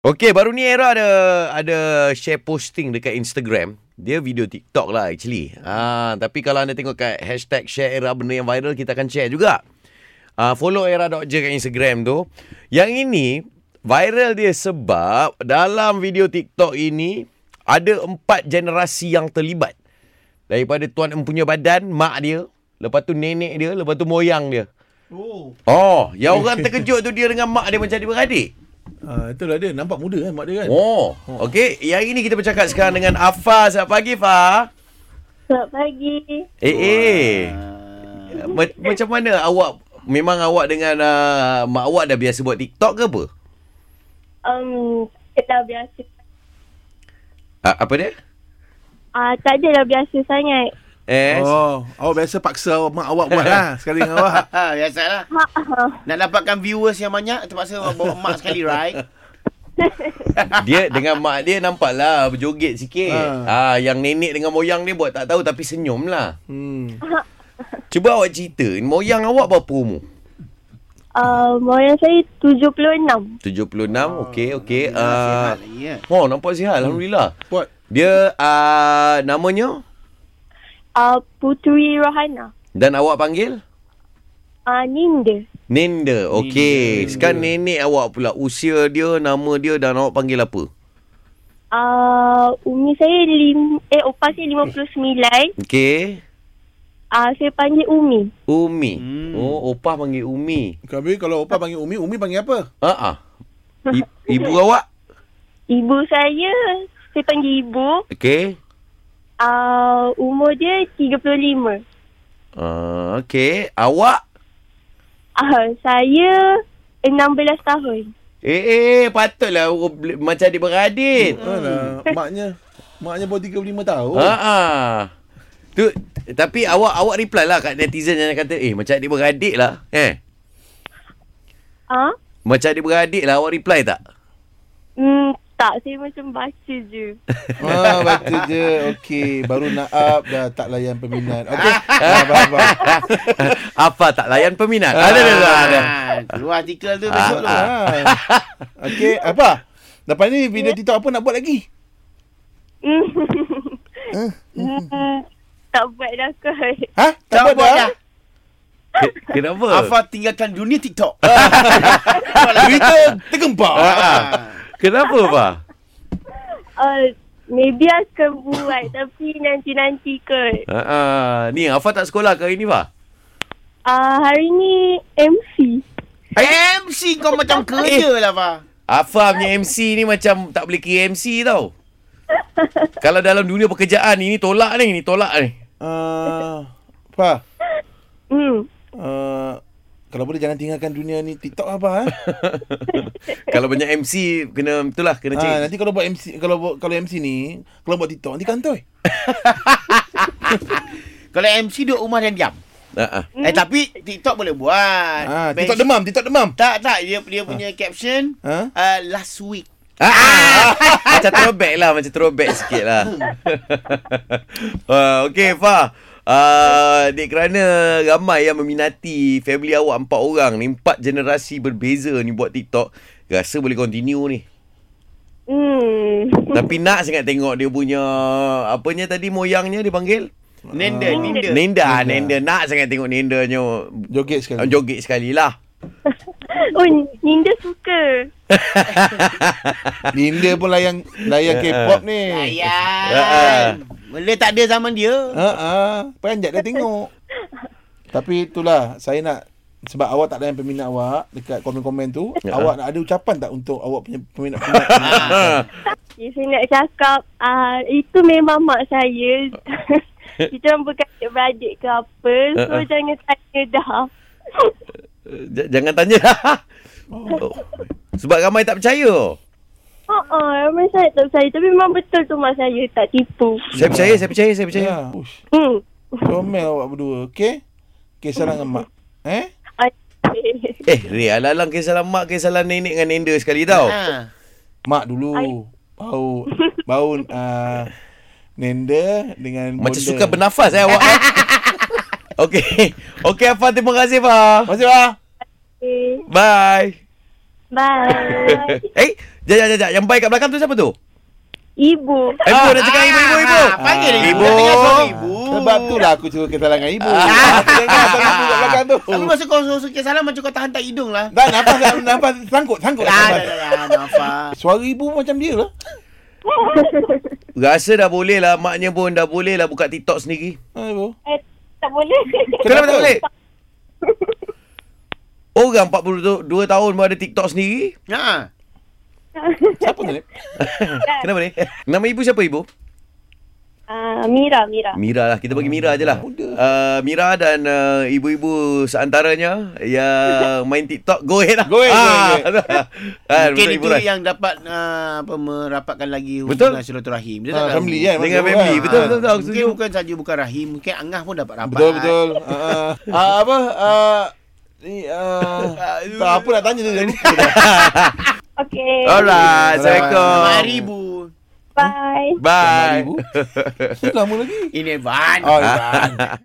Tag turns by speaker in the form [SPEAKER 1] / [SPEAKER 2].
[SPEAKER 1] Okey, baru ni Era ada ada share posting dekat Instagram. Dia video TikTok lah actually. Ah, tapi kalau anda tengok kat hashtag share Era benda yang viral, kita akan share juga. Ah, follow era.je kat Instagram tu. Yang ini viral dia sebab dalam video TikTok ini ada empat generasi yang terlibat. Daripada tuan empunya badan, mak dia, lepas tu nenek dia, lepas tu moyang dia.
[SPEAKER 2] Oh.
[SPEAKER 1] Oh, yang orang terkejut tu dia dengan mak dia macam adik-beradik.
[SPEAKER 2] Ah, itulah dia. Nampak muda kan mak dia kan?
[SPEAKER 1] Oh, okey. Yang ini kita bercakap sekarang dengan Afa. Selamat pagi, Fa.
[SPEAKER 3] Selamat pagi.
[SPEAKER 1] Eh, eh. Ma- macam mana awak memang awak dengan uh, mak awak dah biasa buat TikTok ke apa?
[SPEAKER 3] Um, dah biasa.
[SPEAKER 1] Uh, apa dia?
[SPEAKER 3] Ah, tak ada dah biasa sangat.
[SPEAKER 1] Eh. Oh.
[SPEAKER 2] Oh, awak biasa paksa awak- mak awak buat lah sekali dengan awak.
[SPEAKER 4] Ha, biasalah.
[SPEAKER 3] Ha, ha.
[SPEAKER 4] Nak dapatkan viewers yang banyak terpaksa bawa mak sekali, right?
[SPEAKER 1] Dia dengan mak dia nampaklah berjoget sikit. Ah,
[SPEAKER 2] Ah.
[SPEAKER 1] yang nenek dengan moyang dia buat tak tahu tapi senyum lah.
[SPEAKER 2] Hmm.
[SPEAKER 1] Cuba awak cerita, moyang awak berapa umur?
[SPEAKER 3] Um, orang saya 76.
[SPEAKER 1] 76.
[SPEAKER 2] Oh.
[SPEAKER 1] Okey, okey.
[SPEAKER 4] Nasihat
[SPEAKER 1] Ah.
[SPEAKER 4] lagi, ya.
[SPEAKER 1] Oh, nampak sihat alhamdulillah.
[SPEAKER 2] Buat.
[SPEAKER 1] Dia uh, namanya
[SPEAKER 3] Ah, Puteri Rohana.
[SPEAKER 1] dan awak panggil?
[SPEAKER 3] Ah, Ninda.
[SPEAKER 1] Nenda. Okey. Sekarang nenek awak pula. Usia dia, nama dia dan awak panggil apa?
[SPEAKER 3] Ah, umur saya lim, eh opah saya 59.
[SPEAKER 1] Okey.
[SPEAKER 3] Ah, saya panggil Umi.
[SPEAKER 1] Umi.
[SPEAKER 4] Hmm.
[SPEAKER 1] Oh, opah panggil Umi.
[SPEAKER 2] Tapi kalau opah panggil Umi, Umi panggil apa?
[SPEAKER 1] Ha ah. I- ibu awak?
[SPEAKER 3] Ibu saya saya panggil ibu.
[SPEAKER 1] Okey.
[SPEAKER 3] Ah, umur dia 35.
[SPEAKER 1] Uh, okey. Awak?
[SPEAKER 3] Ah, saya 16 tahun.
[SPEAKER 1] Eh, eh, patutlah orang beli- macam adik-beradik.
[SPEAKER 2] Hmm. Alah, maknya maknya baru 35 tahun.
[SPEAKER 1] Ha ah. Tu tapi awak awak reply lah kat netizen yang kata, "Eh, macam adik-beradik lah." Eh.
[SPEAKER 3] Ah,
[SPEAKER 1] Macam adik-beradik lah awak reply tak?
[SPEAKER 3] hmm, tak saya macam baca je.
[SPEAKER 2] Ah, baca je. Okey, baru nak up dah tak layan peminat. Okey. ah, faham, faham.
[SPEAKER 1] Ha. Apa tak layan peminat? Ada ada ada. ada.
[SPEAKER 4] Ah, Keluar artikel tu besok tu.
[SPEAKER 2] Ah. Okey, apa? Lepas ni
[SPEAKER 4] Ya.
[SPEAKER 2] video TikTok apa nak buat lagi?
[SPEAKER 3] Hmm. Hmm, tak buat dah kot.
[SPEAKER 2] Ha?
[SPEAKER 4] Tak buat dah.
[SPEAKER 1] Ke- Kenapa?
[SPEAKER 4] Afa tinggalkan dunia TikTok.
[SPEAKER 2] Berita tergempar.
[SPEAKER 1] Ah, ah. Kenapa apa?
[SPEAKER 3] Uh, maybe akan buat tapi nanti-nanti kot.
[SPEAKER 1] Ha ah. Ni Afa tak sekolah ke hari ni, Fa?
[SPEAKER 3] Uh, hari ni MC.
[SPEAKER 4] MC Ah. kau
[SPEAKER 1] Eh.
[SPEAKER 4] macam kerja lah, Afa.
[SPEAKER 1] Afa punya MC ni macam tak boleh kira MC tau. Kalau dalam dunia pekerjaan ini tolak ni, ni tolak ni.
[SPEAKER 2] Ah, apa?
[SPEAKER 3] Hmm.
[SPEAKER 2] Uh, kalau boleh jangan tinggalkan dunia ni TikTok apa eh?
[SPEAKER 1] Kalau banyak MC kena itulah kena
[SPEAKER 2] ah,
[SPEAKER 1] cek.
[SPEAKER 2] nanti kalau buat MC kalau buat, kalau MC ni, kalau buat TikTok nanti kantoi.
[SPEAKER 4] Kalau MC duduk rumah dan diam.
[SPEAKER 1] Ha ah.
[SPEAKER 4] Eh, tapi TikTok boleh buat.
[SPEAKER 2] Ah,
[SPEAKER 4] Men-
[SPEAKER 2] TikTok demam, TikTok demam.
[SPEAKER 4] Tak, tak. Dia dia punya caption,
[SPEAKER 2] Ha?
[SPEAKER 4] ah, last week.
[SPEAKER 1] Ah, ah. macam throwback lah Macam throwback sikit lah uh, Okay Fah uh, Dek kerana ramai yang meminati Family awak empat orang ni Empat generasi berbeza ni buat TikTok Rasa boleh continue ni
[SPEAKER 3] Hmm.
[SPEAKER 1] Tapi nak sangat tengok dia punya Apanya tadi moyangnya dia panggil
[SPEAKER 2] Ah.
[SPEAKER 4] Nenda, Ya. nenda.
[SPEAKER 1] Nenda Nenda Nak sangat tengok nendanya
[SPEAKER 2] Joget sekali.
[SPEAKER 1] Joget sekali lah
[SPEAKER 3] Oh, Ninda suka.
[SPEAKER 2] Linda pun layan layan K-pop ni.
[SPEAKER 1] Ah.
[SPEAKER 4] Layan. Benda tak ada zaman dia.
[SPEAKER 2] Ha ah, panjat dah tengok. Tapi itulah saya nak sebab awak tak layan peminat awak dekat komen-komen tu,
[SPEAKER 1] Ya.
[SPEAKER 2] awak nak ada ucapan tak untuk awak punya peminat-peminat?
[SPEAKER 3] Okay, saya nak cakap, uh, itu memang mak saya. Kita orang bukan adik-beradik ke apa. So,
[SPEAKER 1] Uh-uh.
[SPEAKER 3] jangan tanya dah.
[SPEAKER 1] J- Jangan tanya oh. Sebab ramai tak percaya
[SPEAKER 3] Oh, oh, ramai sangat tak percaya. Tapi memang betul tu mak saya. Tak tipu.
[SPEAKER 1] Saya percaya Saya percaya Saya percaya
[SPEAKER 2] ya. Ush,
[SPEAKER 3] Hmm.
[SPEAKER 2] comel awak berdua, okey? Kisah dengan mak. Eh?
[SPEAKER 3] Okay.
[SPEAKER 1] Eh, Ria, lalang kisah mak, kisah nenek dengan nenda sekali tau.
[SPEAKER 4] Ha.
[SPEAKER 2] Mak dulu
[SPEAKER 3] Ai.
[SPEAKER 2] Bau Bau uh, Nenda Dengan
[SPEAKER 1] Macam
[SPEAKER 2] bonda.
[SPEAKER 1] suka bernafas eh awak eh. Okey. Okey, Afah. Terima kasih, Afah.
[SPEAKER 2] ah. Masih lah
[SPEAKER 3] Okay.
[SPEAKER 1] Bye.
[SPEAKER 3] Bye.
[SPEAKER 1] Eh, Jajak, jajak. Yang baik kat belakang tu siapa tu?
[SPEAKER 3] Ibu.
[SPEAKER 1] Ibu dah cakap ibu, ibu, ibu.
[SPEAKER 4] Ah, panggil dia.
[SPEAKER 1] Ibu.
[SPEAKER 4] Ibu. Tengah suara ibu.
[SPEAKER 2] Sebab tu lah aku suruh kita dengan ibu. Ah, Aku dengar suara ibu kat belakang tu.
[SPEAKER 1] Oh.
[SPEAKER 4] Tapi masa kau suruh sikit salam macam kau tahan tak hidung lah.
[SPEAKER 2] Tak, nafas, nafas, sangkut, sangkut.
[SPEAKER 4] Dah, dah, dah, dah, nafas.
[SPEAKER 2] Suara ibu macam dia lah.
[SPEAKER 1] Rasa dah boleh lah. Maknya pun dah boleh lah buka TikTok sendiri.
[SPEAKER 2] Ha, ibu.
[SPEAKER 3] Eh, tak boleh.
[SPEAKER 1] Kenapa tak boleh? Orang 42 tahun pun ada TikTok sendiri.
[SPEAKER 4] Ha.
[SPEAKER 2] Siapa tu ni?
[SPEAKER 1] Kenapa ni? Nama ibu siapa ibu?
[SPEAKER 3] Ah, Mira, Mira.
[SPEAKER 1] Mira lah. Kita bagi Mira je lah.
[SPEAKER 2] Muda.
[SPEAKER 1] Uh, Mira dan uh, ibu-ibu seantaranya yang main TikTok, go ahead lah.
[SPEAKER 2] Go ahead, go
[SPEAKER 1] Ah, untuk
[SPEAKER 4] Mungkin itu
[SPEAKER 1] hiburan.
[SPEAKER 4] yang dapat ah, apa merapatkan lagi
[SPEAKER 1] Betul.
[SPEAKER 4] hubungan silaturahim. Dia
[SPEAKER 2] Ah,
[SPEAKER 4] tak tahu.
[SPEAKER 2] family kan.
[SPEAKER 1] Dengan
[SPEAKER 2] Betul,
[SPEAKER 1] family. Betul,
[SPEAKER 2] ah.
[SPEAKER 1] betul, betul. Aku
[SPEAKER 4] lah. Mungkin
[SPEAKER 1] setuju.
[SPEAKER 4] bukan saja bukan rahim, mungkin angah pun dapat rapat.
[SPEAKER 2] Betul, betul. Ah, ah. Ah, apa? Ah, ni, ah, tak, apa nak tanya tu. dah lupa dah.
[SPEAKER 3] Okay.
[SPEAKER 1] Alright. Assalamualaikum.
[SPEAKER 4] Mari bu.
[SPEAKER 3] Bye.
[SPEAKER 1] Bye.
[SPEAKER 2] Lama lagi.
[SPEAKER 4] Ini van.
[SPEAKER 2] Oh, Ivan.